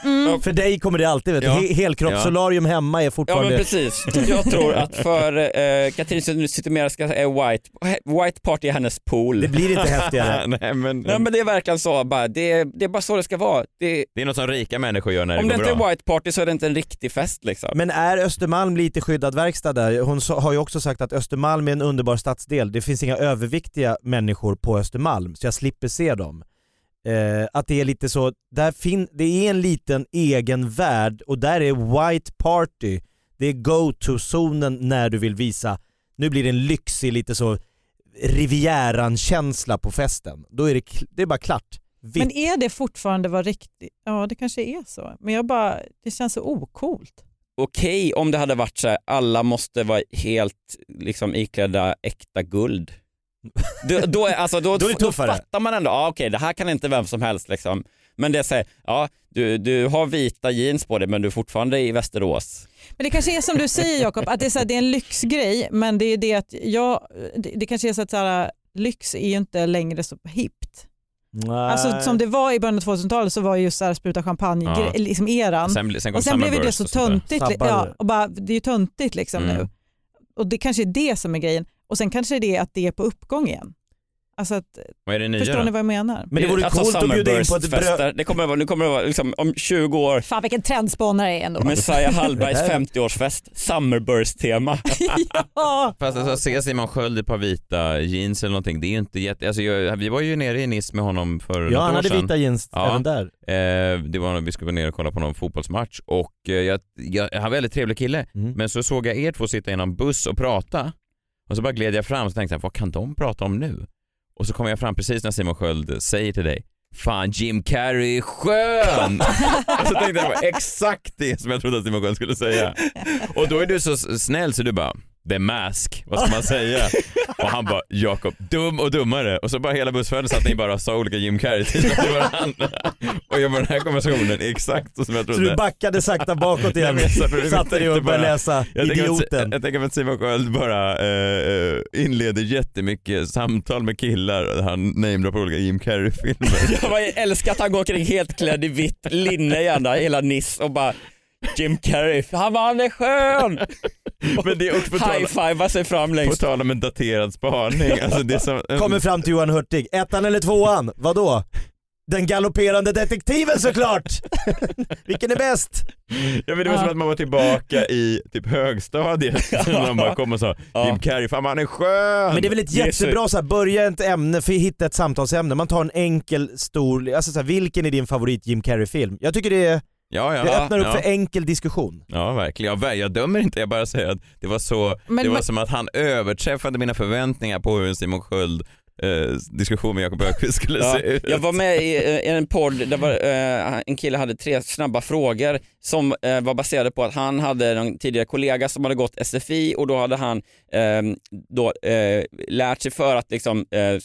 Mm.
För dig kommer det alltid, vet du.
Ja.
He- helkroppssolarium hemma är
Ja men
fortfarande...
precis. Jag tror att för eh, Katrin Zytomierska är white, white party är hennes pool.
det blir inte häftigare.
Nej, men,
Nej men det är verkligen så, bara, det, det är bara så det ska vara. Det,
Det är något som rika människor gör när
Om
det
det
går
inte
bra.
är white party så är det inte en riktig fest liksom.
Men är Östermalm lite skyddad verkstad där? Hon sa- har ju också sagt att Östermalm är en underbar stadsdel. Det finns inga överviktiga människor på Östermalm så jag slipper se dem. Eh, att det är lite så, där fin- det är en liten egen värld och där är white party. Det är go-to-zonen när du vill visa, nu blir det en lyxig lite så Rivieran-känsla på festen. Då är det, kl- det är bara klart. Vitt.
Men är det fortfarande vad riktigt? Ja det kanske är så. Men jag bara, det känns så ocoolt.
Okej om det hade varit så här, alla måste vara helt liksom, iklädda äkta guld. Då, då, är, alltså, då,
Då är det tuffare.
fattar man ändå, ah, okej det här kan inte vem som helst liksom. Men det är såhär, ja du, du har vita jeans på dig men du är fortfarande i Västerås.
Men det kanske är som du säger Jakob, att det är, så här, det är en lyxgrej men det är det att jag, det, det kanske är så att så här, lyx är ju inte längre så hippt.
Nej.
Alltså som det var i början av 2000-talet så var ju just så här spruta champagne
Ja.
gre- liksom eran.
Sen, sen kom
och sen blev ju det
Summerburst
så
och sånt där.
töntigt. li-
Sabbade
Ja,
det.
och bara, det är ju töntigt liksom
Mm.
nu. Och det kanske är det som är grejen. Och sen kanske det är att det är på uppgång igen. Alltså att,
Vad är det nya
förstår
då?
ni vad jag menar?
Men det vore
Alltså,
coolt att bjuda in på ett bröd...
Summerburst-fester. Det kommer, vara- nu kommer det vara liksom, om 20 år,
Fan vilken trendspanare jag är ändå.
Messiah Hallbergs
Det här-
50-årsfest, Summerburst-tema.
ja,
Fast alltså, se Simon Sköld i ett par vita jeans eller någonting, det är ju inte jätte... Alltså, jag, vi var ju nere i Nice med honom för
Ja,
något
han
år
hade
sedan.
vita jeans
Ja.
även där.
Eh, det var, vi skulle gå ner och kolla på någon fotbollsmatch och eh, jag, jag, han var en väldigt trevlig kille.
Mm.
Men så såg jag er två sitta i någon buss och prata och så bara gled jag fram och tänkte jag, vad kan de prata om nu? Och så kom jag fram precis när Simon Sköld säger till dig Fan Jim Carrey är skön! och så tänkte jag, det var exakt det som jag trodde att Simon Sköld skulle säga. Och då är du så s- snäll så du bara, the mask, vad ska man säga? Och han bara, Jakob, dum och dummare. Och så bara hela bussfärden satt ni bara sa olika Jim Carrey-titlar till varandra. Och jag bara, den här konversationen är exakt så som jag
Så du
trodde.
backade sakta bakåt
Jag
igen,
vet, så du
satte dig
tänkte
och började
bara-
läsa
Jag tänker, att,
Idioten.
jag tänker att Simon Sköld bara eh, inleder jättemycket samtal med killar där han namedroppar olika Jim Carrey-filmer.
Jag bara älskar att han går omkring helt klädd i vitt linne gärna, hela Nice och bara Jim Carrey, han var han är skön!
Men det är också på tal-
High-fivar sig fram
På
längst.
tal om en daterad spaning. Alltså det är som,
Kommer fram till Johan Hurtig, ettan eller tvåan? Vadå? Den galopperande detektiven såklart! Vilken är bäst?
Ja, men det var som att man var tillbaka i typ högstadiet. När de bara kom och sa
Ja.
Jim Carrey, fan vad han är skön!
Men det är väl ett
Det är så-
jättebra så här, börja ett ämne, för hitta ett samtalsämne. Man tar en enkel stor, alltså så här, vilken är din favorit Jim Carrey-film? Jag tycker det, är,
Ja, ja,
det öppnar upp
ja.
för enkel diskussion.
Ja, verkligen. Jag, vä- jag dömer inte, jag bara säger att det var, så,
Men-
det var
men-
som att han överträffade mina förväntningar på hur en Simon Sköld eh, diskussion med Jakob Öqvist skulle
Ja,
se ut.
jag var med i, eh, i en podd där var, eh, en kille hade tre snabba frågor som eh, var baserade på att han hade en tidigare kollega som hade gått SFI och då hade han eh, då, eh, lärt sig för att liksom, eh, ja,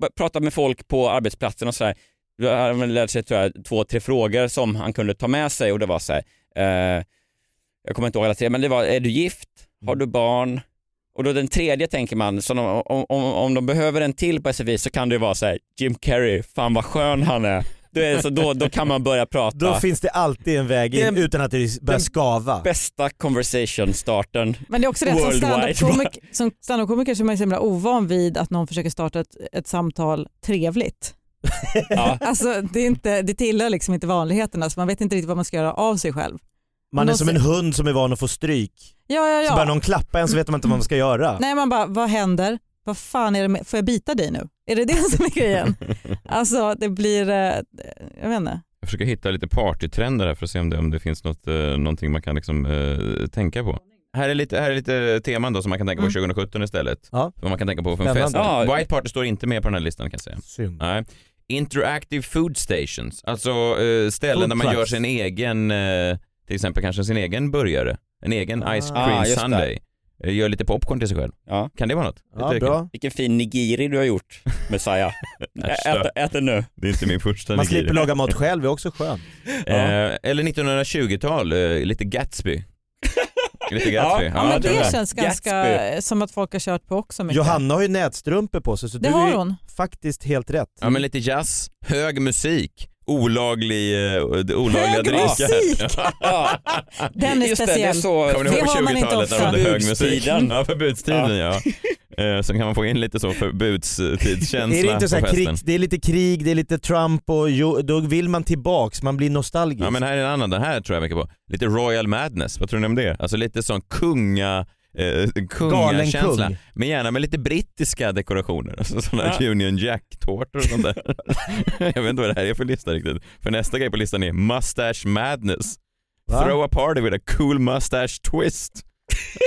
b- prata med folk på arbetsplatsen och sådär. Då hade han lärt sig tror jag, två, tre frågor som han kunde ta med sig och det var så här, eh, jag kommer inte ihåg alla tre, men det var är du gift? Har
Mm.
du barn? Och då den tredje tänker man, så de, om, om, om de behöver en till på SFI så kan det ju vara så här, Jim Carrey, fan vad skön han är. Då, är det så, då, då kan man börja prata.
Då finns det alltid en väg in
Det-
utan att det börjar
det-
skava.
Bästa conversation-starten.
men det är också det som
Worldwide,
standup-komik- som standup-komiker så är man ju så himla ovan vid att någon försöker starta ett, ett samtal trevligt.
Ja.
Alltså, det, är inte, det tillhör liksom inte vanligheterna så man vet inte riktigt vad man ska göra av sig själv.
Man är
någon
som en hund som är van att få stryk.
Ja, ja,
Så börjar
ja.
någon klappa en så vet man inte vad man ska göra.
Nej, man bara, vad händer? Vad fan är det med, får jag bita dig nu? Är det det som är grejen? Alltså det blir, eh, jag vet inte.
Jag försöker hitta lite partytrender här för att se om det, om det finns något, eh, någonting man kan liksom, eh, tänka på. Här är, lite, här är lite teman då som man kan tänka på
Mm.
2017 istället.
Ja.
Vad man kan tänka på för en
Spännande.
fest.
Ja.
White Party står inte med på den här listan kan jag säga.
Synd.
Nej. Interactive food stations, alltså eh, ställen
Food
där man
trucks.
gör sin egen, eh, till exempel kanske sin egen burgare, en egen
Ah.
ice
Ah,
cream
just det.
sundae. Eh, Gör lite popcorn till sig själv.
Ja.
Kan det vara något?
Ja,
Lite-
bra.
Vilken fin nigiri du har gjort, Messiah. Ä-
Äsch,
ät, ät den nu.
Det är inte min första
Man
nigiri.
slipper laga mat själv, det är också skönt.
Eh, eller 1920-tal, eh, lite Gatsby. lite Gatsby.
Ja,
Ja, men
det
det
är-
känns ganska som att folk har kört på också mycket.
Johanna har ju nätstrumpor på sig så
det
du är
har
ju
hon.
faktiskt helt rätt.
Ja men lite jazz, hög musik, olaglig, eh, olagliga
Hög
drinkar.
musik!
Ja.
Den är
Just det, det är
speciell.
så...
Kommer ni ihåg
Det
på
har man inte
20-talet när de
ofta.
hade hög musik?
Förbudstiden.
Ja, förbudstiden ja. Eh, Sen kan man få in lite så förbudstidskänsla
Är det inte så
på
här krig,
festen.
det är lite krig, det är lite Trump och jo, då vill man tillbaks, man blir nostalgisk.
Ja men här är en annan, den här tror jag mycket på. Lite Royal Madness, vad tror ni om det? Alltså lite sån kunga... Eh,
Galen
kungakänsla.
kung.
Men gärna med lite brittiska dekorationer. Alltså sådana här Union Jack-tårtor och sånt där. jag vet inte vad det här är för lista riktigt. För nästa grej på listan är Mustache Madness.
Va?
Throw a party with a cool mustache twist.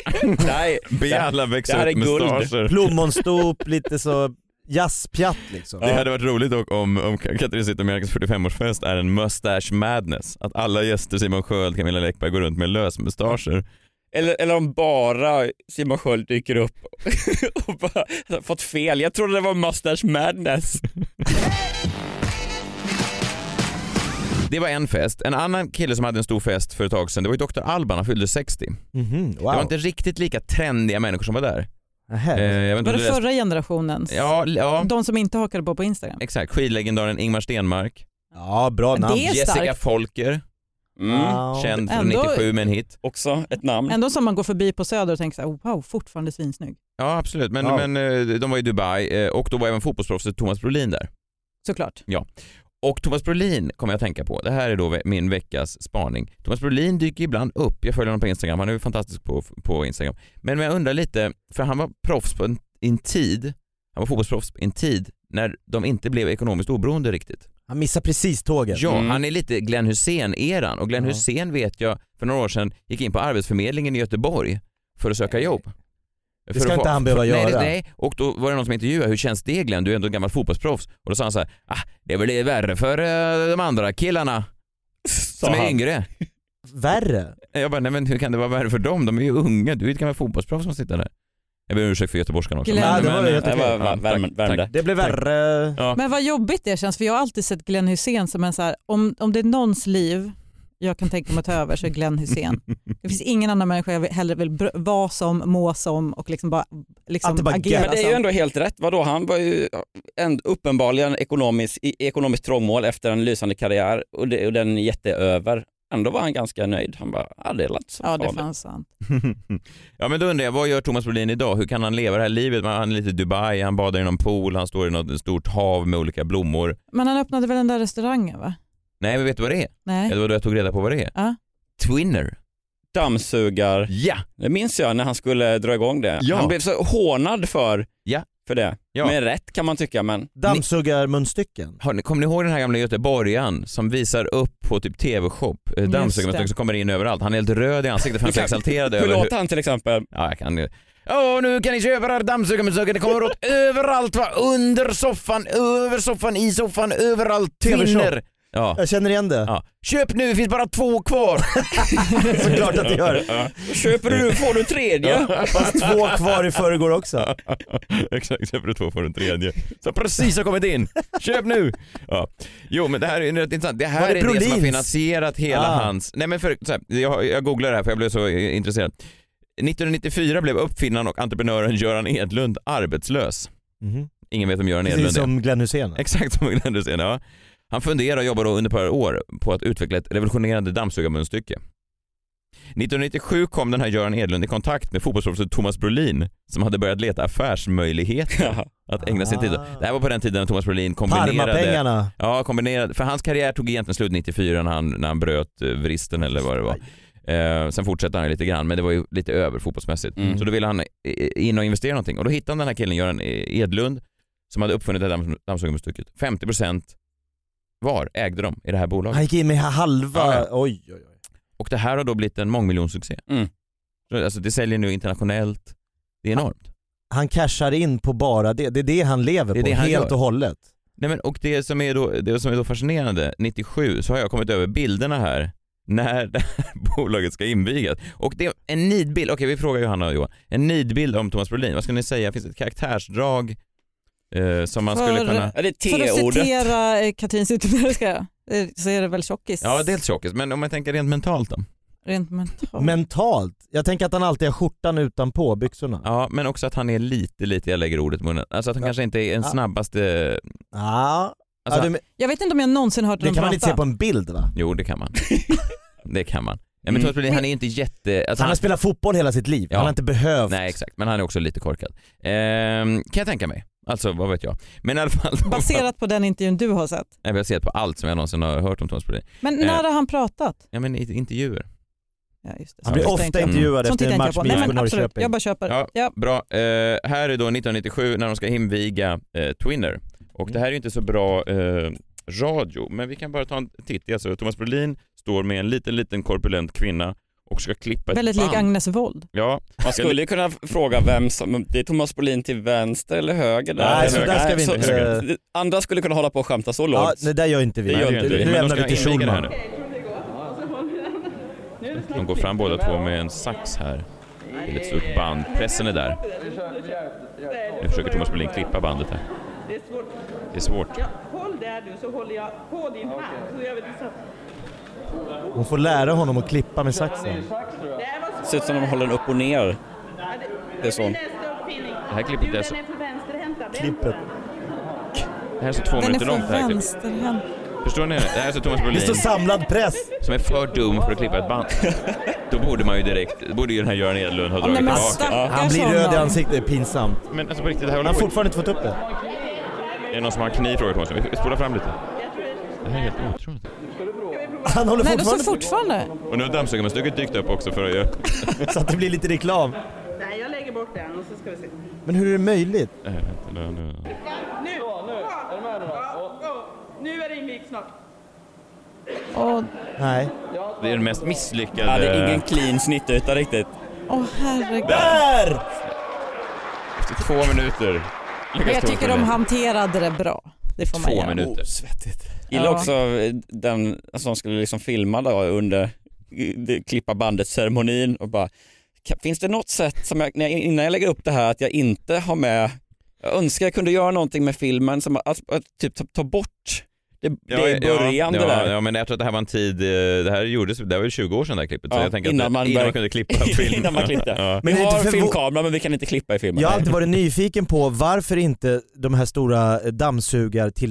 Nej, det
Be
här-
alla
det här
växa
är
upp
guld.
mustascher.
Plommonstop, lite så jazzpjatt liksom.
Det hade varit roligt dock om, om Katrin Zytomierkas 45-årsfest är en mustache madness. Att alla gäster, Simon Sköld, Camilla Läckberg, går runt med lösmustascher.
Eller, eller om bara Simon Sköld dyker upp och bara fått fel. Jag trodde det var Mustache Madness.
Det var en fest. En annan kille som hade en stor fest för ett tag sedan, det var ju Dr. Alban, han fyllde 60.
Mhm, wow.
Det var inte riktigt lika trendiga människor som var där.
Nähä.
Eh, jag vet inte
Var
om
det
du läste-
förra generationens?
Ja, l- ja,
De som inte hakade på på Instagram?
exakt. Skidlegendaren Ingmar Stenmark,
ja, bra
Men det
namn.
är
Jessica
starkt.
Folker,
Mm.
Wow.
Känd från
Ändå-
97 med en hit.
Också ett namn.
Ändå som man går förbi på Söder och tänker så här, "Oh, wow, fortfarande svinsnygg.
Ja absolut, men,
Ja.
men eh, de var i Dubai eh, och då var även fotbollsproffset Thomas Brolin där.
Såklart.
Och Thomas Brolin kommer jag att tänka på, det här är då ve- min veckas spaning. Thomas Brolin dyker ibland upp, jag följer honom på Instagram, han är ju fantastisk på, på Instagram. Men jag undrar lite, för han var proffs på en, i en tid, han var fotbollsproffs i en tid när de inte blev ekonomiskt oberoende riktigt.
Han missar precis tåget.
Ja,
Mm.
han är lite Glenn Hussein-eran och Glenn
Ja.
Hussein vet jag för några år sedan gick in på Arbetsförmedlingen i Göteborg för att söka jobb. Det
ska inte han behöva
nej, Nej,
göra.
nej, och då var det någon som intervjuade, hur känns det Glenn? Du är ändå en gammal fotbollsproffs. Och då sa han så här, ah, det blir värre för eh, de andra killarna
Sa
som är
han.
yngre.
Värre.
Jag bara, nej men hur kan det vara värre för dem? De är ju unga, du är ett gammalt fotbollsproffs som sitter där. Jag ber om ursäkt för göteborgskan också.
Glenn.
Nej, det var helt
Det
okej.
var va- värme- värmde.
Det blev värre.
Ja.
Men vad jobbigt det känns, för jag har alltid sett Glenn Hussein som en så här, om, om det är någons liv jag kan tänka mig att ta över så är Glenn Hussein. Det finns ingen annan människa jag vill- hellre vill br- vara som, må som och liksom bara, liksom
Alltid bara
agera
gött.
Men det är ju
som.
ändå helt rätt. Vadå, han var ju en, uppenbarligen ekonomisk, i ekonomiskt trångmål efter en lysande karriär och, det, och den jätteöver. Ändå var han ganska nöjd. Han bara, ja det är lätt så
Ja det är
farligt."
fan sant.
ja men då undrar jag, vad gör Thomas Brolin idag? Hur kan han leva det här livet? Han är lite i Dubai, han badar i någon pool, han står i något stort hav med olika blommor.
Men han öppnade väl den där restaurangen va?
Nej men vet du vad det är?
Nej.
Eller vad du jag tog reda på vad det är?
Ja.
Twinner.
Dammsugar.
Ja!
Det minns jag när han skulle dra igång det.
Ja.
Han blev så hånad för,
Ja.
för det.
Ja.
Med rätt kan man tycka men
Dammsugarmunstycken.
Har ni, kommer ni ihåg den här gamla göteborgaren som visar upp på typ TV-shop, eh,
Just
dammsugarmustasch
det.
som kommer in överallt. Han är helt röd i ansiktet för han är så
Hur kan-
exalterad
hur
över hur...
låter han till exempel?
Ja, jag kan ju. Åh, nu kan ni köpa den här dammsugarmustaschen. Det kommer åt överallt va? Under soffan, över soffan, i soffan, överallt.
TV-shop.
Twinner. Ja.
Jag känner igen det.
ja. Köp nu, det finns bara två kvar.
Såklart att det gör.
Köper du får du tredje.
Fast två kvar i förrgår också.
Exakt, köper du två får du en tredje. Som precis har kommit in. Köp nu! Ja. Jo men det här är rätt intressant. Det
Var
här
det
är det som har
Brolins?
finansierat hela
Ah.
hans... Nej men för, så här, jag, jag googlar det här för jag blev så eh, intresserad. 1994 blev uppfinnaren och entreprenören Göran Edlund arbetslös.
Mhm.
Ingen vet om Göran
Precis
Edlund är.
som Glenn Hysén.
Exakt som Glenn Hysén, ja. Han funderade och jobbade då under ett par år på att utveckla ett revolutionerande dammsugarmunstycke. 1997 kom den här Göran Edlund i kontakt med fotbollsproffset Thomas Brolin som hade börjat leta affärsmöjligheter att ägna sin tid åt. Det här var på den tiden när Thomas Brolin kombinerade...
Parmapengarna.
Ja, kombinerade. För hans karriär tog egentligen slut 94 när han, när han bröt eh, vristen eller vad det var. Eh, sen fortsatte han ju lite grann men det var ju lite över fotbollsmässigt.
Mm.
Så då ville han eh, in och investera någonting och då hittade han den här killen Göran eh, Edlund som hade uppfunnit det här damm- dammsugarmunstycket. 50% var ägde de i det här bolaget.
Han gick in med halva.
Ja, ja.
Oj, oj, oj.
Och det här har då blivit en mångmiljonsuccé.
Mm.
Så, Alltså det säljer nu internationellt. Det är enormt.
Han cashar in på bara det. Det är det han lever
Det är
på
det han
helt
gör.
och hållet.
Nej men och det som är då, det som är då fascinerande, 97 så har jag kommit över bilderna här när det här bolaget ska invigas. Och det är en nidbild, okej vi frågar Johanna och Johan, en nidbild om Thomas Brolin, vad skulle ni säga, finns det ett karaktärsdrag eh, som man skulle
För-
kunna...
Ja, det är
För att
T-ordet.
citera eh, Katrin Zytomierska ska jag, eh, så är det väl tjockis?
Ja dels tjockis, men om jag tänker rent mentalt då?
Rent mentalt.
Mentalt. Jag tänker att han alltid har skjortan utanpå byxorna.
Ja men också att han är lite, lite, jag lägger ordet i munnen, alltså att han
Ja.
kanske inte är den
Ja.
snabbaste...
Ja.
Alltså,
ja, du,
Jag vet inte om jag någonsin hört
det
honom
kan man
prata.
inte se på en bild va?
Jo det kan man. det kan man. Ja, men
Mm.
Thomas Brolin han är inte jätte... Alltså,
Han har spelat fotboll hela sitt liv.
Ja.
Han har inte behövt.
Nej exakt, men han är också lite korkad. Ehm, kan jag tänka mig. Alltså vad vet jag. Men i alla fall.
Baserat på den intervjun du har sett.
Nej, vi har sett på allt som jag någonsin har hört om Thomas Brolin.
Men
Eh.
när har han pratat?
Ja men i- intervjuer.
Ja, just det.
Han
Så
blir
tittar
ofta
inte jag.
Mm.
intervjuad
Sånt
efter
tittar
en
inte
match
jag på.
med
Nej
IFK
men absolut,
Norrköping.
jag bara köper.
Ja.
Ja.
Bra. Eh, här är då 1997 när de ska inviga eh, Twinner. Och det här är ju inte så bra eh, radio, men vi kan bara ta en titt. Det är Alltså, Thomas Brolin står med en liten, liten korpulent kvinna och ska klippa ett
Väldigt
band.
lik Agnes Wold.
Ja,
Man skulle ju kunna fråga vem som, det är Thomas Bolin till vänster eller höger där.
Nej, så
Eller-
där ska vi
så-
inte-
så- Andra skulle kunna hålla på och skämta så
Ja,
lågt.
nej, det där gör inte vi.
Det gör inte
Nu
vi.
Men de
lämnar
ska
vi till
inviga det här
Schulman.
nu. De går fram båda två med en sax här. Till ett stort band. Pressen är där. Nu försöker Thomas Brolin klippa bandet här. Det är svårt.
Hon får lära honom att klippa med saxen.
Det ser ut som de håller den upp och ner. Det är så.
Det här klippet är så,
Klippet.
det här är så två
Den är
minuter långt. Det
för
här klippet.
vänsterhänt.
Förstår ni? Det här är alltså Thomas
Det står
Brolin
samlad press.
som är för dum för att klippa ett band. Då borde man ju direkt, borde ju den här Göran Edlund ha dragit
nej, men
tillbaka.
stackars
Han blir röd i
honom.
ansiktet, det är pinsamt.
Men alltså på riktigt, det här
Han
håller
har
på.
fortfarande inte fått upp det.
Är det någon som har en kniv frågar Thomas? Vi spolar fram lite. Det här är helt otroligt.
Han håller
Nej, de står
fortfarande på.
fortfarande.
Och nu har dammsugarmunstycket dykt upp också för att göra...
Så att det blir lite reklam.
Nej, jag lägger bort den och så ska vi se.
Men hur är det möjligt?
Nej, vänta, nu- nu-
Nu! nu! Är du med nu Nu är det invigt snart.
Åh,
Nej.
Det är den mest misslyckade...
Hade ingen clean snittyta riktigt.
åh, herregud.
Där!
Efter två minuter lyckas
Jag
Thomas
tycker de
Brolin.
hanterade det bra. Det får man
Två
göra.
minuter.
svettigt. Gillar
Ja.
också eh, den som skulle liksom filma då under eh, klippa bandet-ceremonin och bara, "Ka- finns det något sätt som jag, när jag, innan jag lägger upp det här att jag inte har med, jag önskar jag kunde göra någonting med filmen som att, att, att typ ta, ta bort det, det i början
ja,
det där.
Ja, men jag tror att det här var en tid, eh, det här gjordes, det här var ju 20 år sedan det här klippet. så
Ja,
jag tänker
innan
att,
man
innan
började-
man kunde klippa film.
Innan man klippte.
Ja.
Vi
Men är det
har
inte förvå-
filmkamera men vi kan inte klippa i filmen.
Jag har alltid varit nyfiken på varför inte de här stora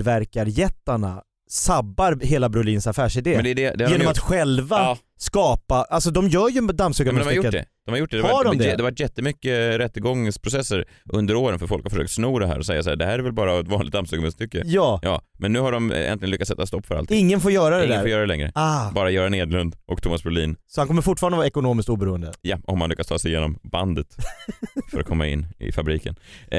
dammsugartillverkarjättarna sabbar hela Brolins affärsidé.
Men det är det, det har de
genom
gjort.
att själva
Ja.
skapa, alltså de gör ju
Ja, men de har gjort
dammsugarmunstycket.
det. De har gjort det. Det,
Har
var,
de det?
det? har varit jättemycket rättegångsprocesser under åren för folk har försökt sno det här och säga så här, det här är väl bara ett vanligt dammsugarmunstycke.
ja,
Ja, men nu har de eh, äntligen lyckats sätta stopp för allt.
ingen får göra det
Ingen
där.
får göra det längre.
Ah,
Bara Göran Edlund och Thomas Brolin.
så han kommer fortfarande vara ekonomiskt oberoende.
Ja, om man lyckas ta sig igenom bandet för att komma in i fabriken. Eh,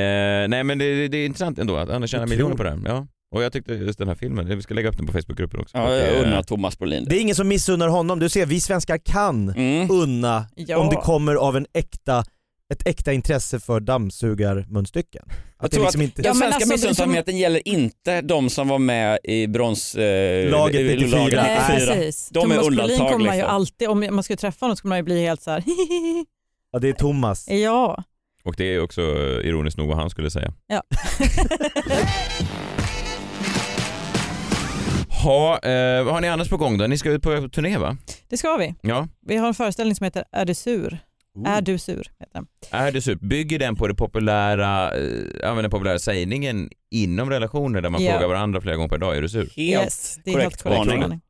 nej men det, det är intressant ändå att han tjänar
Otroligt.
miljoner på det här. Ja. Och jag tyckte just den här filmen, eh, vi ska lägga upp den på Facebookgruppen också.
Ja,
Och,
jag
eh,
undrar Thomas Brolin.
Det är ingen som missunnar honom, du ser vi svenskar kan
Mm.
unna
Ja.
om det kommer av en äkta, ett äkta intresse för dammsugarmunstycken. Att det
tror
liksom inte...
Den
men
svenska
alltså, det är som-
missunnsamheten gäller inte de som var med i brons... Eh,
Laget
i- i- i-
94.
laget
Nej,
Nej,
94.
precis.
De är
Thomas Brolin
undantag,
kommer man ju
liksom.
alltid, om man skulle träffa honom skulle man ju bli helt så här.
Ja, det är Thomas.
ja.
och det är också eh, ironiskt nog vad han skulle säga.
Ja.
Ha, eh, vad har ni annars på gång då? Ni ska ut på turné va?
Det ska vi.
Ja.
Vi har en föreställning som heter Är du sur? Är du sur? Heter den.
Är det super? Bygger den på det populära, eh, ja, men den populära sägningen inom relationer där man
Ja.
frågar varandra flera gånger per dag, är du sur?
Helt
Yes, det är
korrekt
helt korrekt.
spaning.
spaning.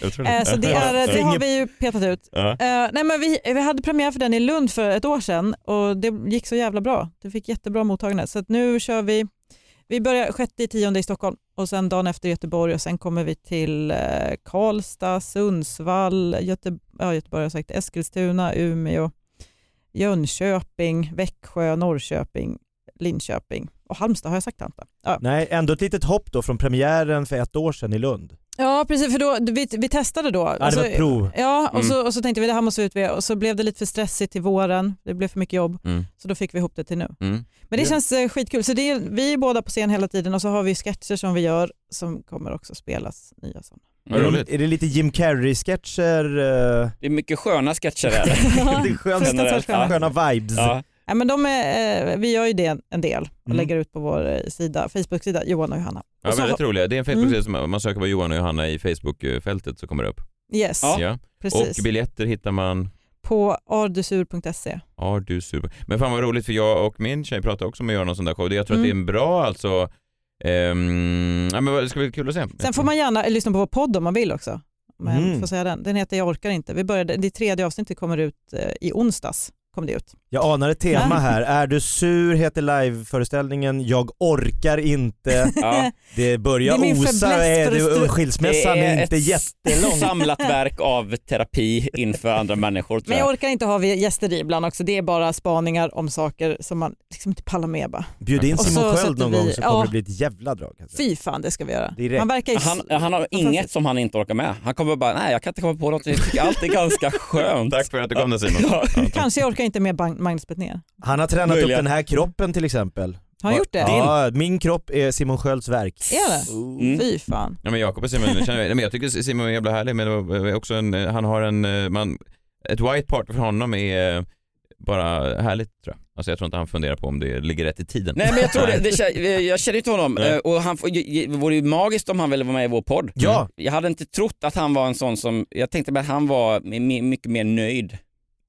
Jag tror
Eh, så det, är, det har
Finger-
vi ju petat ut.
Ja.
Eh, nej men vi, vi hade premiär för den i Lund för ett år sedan och det gick så jävla bra. Det fick jättebra mottagande. Så att nu kör vi, vi börjar 6-10 i Stockholm och sen dagen efter Göteborg och sen kommer vi till eh, Karlstad, Sundsvall, Göte, ja, Göteborg har jag sagt, Eskilstuna, Umeå, Jönköping, Växjö, Norrköping, Linköping och Halmstad har jag sagt Anta. Ja.
Nej, ändå ett litet hopp då från premiären för ett år sedan i Lund.
ja precis för då, vi, vi testade då. Alltså,
Ja, det var
eh,
ett prov.
Ja, och,
Mm.
så, och så tänkte vi det här måste vi ut med och så blev det lite för stressigt till våren. Det blev för mycket jobb
Mm.
så då fick vi ihop det till nu.
Mm.
Men det
Ja.
känns eh, skitkul. Så det är, vi är båda på scen hela tiden och så har vi sketcher som vi gör som kommer också spelas nya sådana.
Vad
Är det-
roligt.
Är det lite Jim Carrey-sketcher? eh,
Det är mycket sköna sketcher där.
det är skönt,
Fruktansvärt sköna.
sköna vibes.
ja.
Ja, men de är, eh, vi gör ju det en del och
Mm.
lägger ut på vår eh, sida, Facebook-sida, Johan och Johanna.
Ja,
och så, Mm.
väldigt roliga. Det är en Facebook-sida som man söker på Johan och Johanna i Facebook-fältet så kommer det upp.
yes,
Ja.
Ja.
precis.
Och biljetter hittar man
på ardusur.se.
Ja, du är super. Men fan vad roligt för jag och min tjej pratade också om att göra någon sån där show. Det- Jag tror att det
Mm.
är en bra alltså, ehm, ja, men vad- det ska bli kul att se.
Sen får man gärna lyssna på vår podd om man vill också. Men
Mm.
får säga den. den heter Jag orkar inte. Vi började, det tredje avsnittet kommer ut eh, i onsdags. Kom det ut.
Jag anar ett tema
Nej.
här. Är du sur heter liveföreställningen, jag orkar inte,
Ja.
det börjar
Det är min
osa,
fäbless
är
för att
det,
stru-
skilsmässan är, inte
ett
jättelång.
samlat verk av terapi inför andra människor. Tror
Men jag
jag.
orkar inte ha gäster i ibland också. Det är bara spaningar om saker som man liksom inte pallar med. Bara.
Bjud in
Och så
Simon Sköld
sätter
någon
vi-
gång så kommer
ja.
det bli ett jävla drag. alltså.
Fy fan det ska vi göra.
Direkt.
Man verkar ju...
Han, han har inget som han inte orkar med. Han kommer bara, nej jag kan inte komma på något. Jag tycker allt är ganska skönt.
Tack för att du kom där Simon.
Ja.
Kanske jag orkar inte med Bang- Magnus Betnér.
Han har tränat
Möjligen.
upp den här kroppen till exempel.
Har han
Va-
gjort det?
Ja, min kropp är Simon Skölds verk.
Är det?
Mm.
Fy fan.
Ja, men Jakob och Simon, jag känner, nej, men jag tycker Simon är jävla härlig men det var också en, han har en, eh, man, ett white part för honom är eh, bara härligt tror jag. Alltså jag tror inte han funderar på om det ligger rätt i tiden. Mm.
Nej men jag tror det, det kän- jag känner inte honom Eh, och han, får- det vore ju magiskt om han ville vara med i vår podd. Mm.
Ja.
Jag hade inte trott att han var en sån som, jag tänkte mig att han var mi- mycket mer nöjd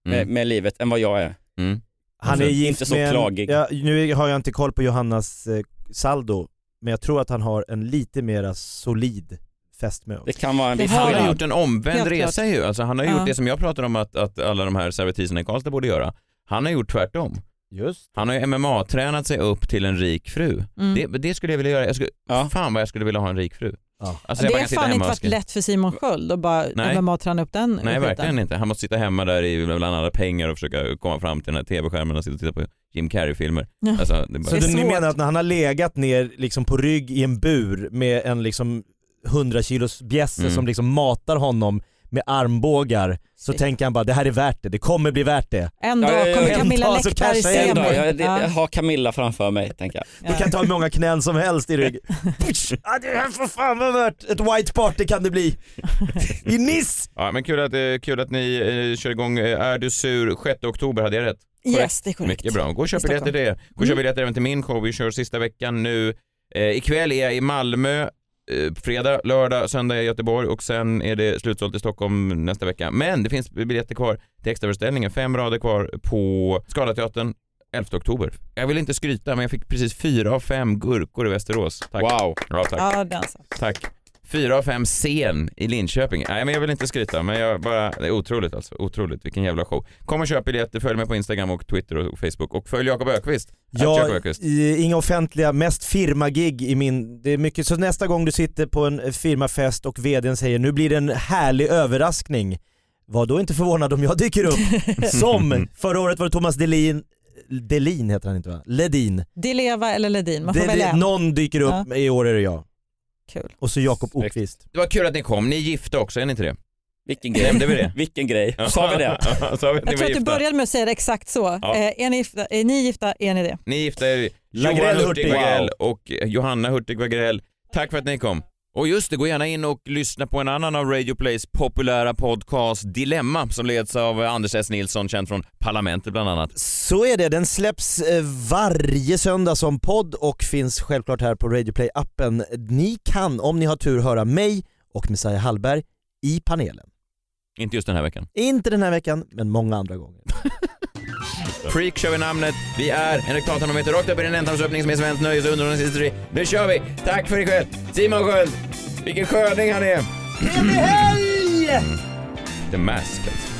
med,
Mm.
med livet än vad jag är.
Mm.
Han är
Alltså, Inte
gift
så
med en,
klagig.
Ja, nu har jag inte koll på Johannas eh, saldo, men jag tror att han har en lite mera solid fäst med.
Det kan vara en
Det
viss
har
Han har
Ja.
gjort en omvänd
Helt
resa
klart.
ju. Alltså, han har gjort
Ja.
det som jag pratar om att, att alla de här servitriserna i Karlstad borde göra. Han har gjort tvärtom.
Just.
Han har ju MMA-tränat sig upp till en rik fru.
Mm.
Det, alltså, det skulle jag vilja göra. Jag skulle,
Ja.
Fan vad jag skulle vilja ha en rik fru.
Ja.
Alltså, jag
Det
bara
har
kan sitta
fan
hemma
inte
och
varit
skriva.
lätt för Simon Sköld att
Nej.
bara MMA-träna upp den
Nej
skiten.
verkligen inte. Han måste sitta hemma där i, bland alla pengar och försöka komma fram till den här tv-skärmen och sitta och titta på Jim Carrey-filmer.
Ja.
Alltså, det är
Så
bara...
Det är
du, ni
svårt.
menar att när han har legat ner liksom på rygg i en bur med en liksom 100 kilos bjässe
Mm.
som liksom matar honom med armbågar så
Shit.
tänker han bara det här är värt det, det kommer bli värt det.
En
Ja, ja,
dag
ja,
kommer
en
Camilla
dag så
Läckberg
kanske en
se
En dag,
mig.
jag, det,
Ja.
jag har Camilla framför mig tänker jag.
Du kan ta hur många knän som helst i rygg. Putsch! ah, det här får fan vara värt ett white party kan det bli. I Nice!
ja, men kul att, eh, kul att ni eh, kör igång eh, Är du sur 6 oktober, hade jag rätt?
Yes, det Mm. är korrekt.
Mycket bra. Gå och köp
I
biljetter till det. Gå och köp biljetter även till min show. Vi kör sista veckan nu. Eh, ikväll är jag i Malmö. Eh, fredag, lördag, söndag är jag i Göteborg och sen är det slutsålt i Stockholm nästa vecka. Men det finns biljetter kvar till extraföreställningen. Fem rader kvar på Scalateatern 11 oktober. Jag vill inte skryta men jag fick precis fyra av fem gurkor i Västerås. Tack.
Wow.
Ja, tack.
Ja, alltså. den så.
tack. Fyra av fem scen i Linköping. Nej men jag vill inte skryta men jag bara, det är otroligt alltså. Otroligt, vilken jävla show. Kom och köp biljetter, följ mig på Instagram och Twitter och Facebook och följ Jakob Ökvist. Jakob
Jag,
Ökvist.
i- inga offentliga, mest firmagig i min, det är mycket, så nästa gång du sitter på en firmafest och vdn säger nu blir det en härlig överraskning, var då inte förvånad om jag dyker upp. Som förra året var det Thomas Delin, Delin heter han inte va? Ledin.
Di Leva eller Ledin, man får
Delin.
välja en.
Någon dyker upp, i år är det jag.
Kul.
Och så Jakob
Snyggt.
Okvist.
Det var kul att ni kom, ni är gifta också, är ni inte det?
Vilken
Nämnde
grej.
vi det?
Vilken grej. Sa vi det?
Ja, Sa vi att ni var
Jag tror att du
gifta?
började med att säga det exakt så.
Ja.
Eh, är, ni gifta, är ni gifta, är ni det?
Ni är gifta er, Johan
Lagrell
Hurtig
Hurtig.
Wagrell och Johanna Hurtig Wagrell. Tack för att ni kom. Och just det, gå gärna in och lyssna på en annan av Radio Plays populära podcast Dilemma som leds av Anders S. Nilsson, känd från Parlamentet bland annat.
Så är det, den släpps eh, varje söndag som podd och finns självklart här på Radioplay-appen. Ni kan, om ni har tur, höra mig och Messiah Hallberg i panelen.
Inte just den här veckan.
Inte den här veckan, men många andra gånger.
Freak kör vi namnet. Vi är en rektaltermometer rakt upp i den ändtarmsöppning som är svensk nöjes och underhållningsindustri. Nu kör vi! Tack för ikväll! Simon Sköld! Vilken sköning han är! Trevlig helg! The Mask alltså.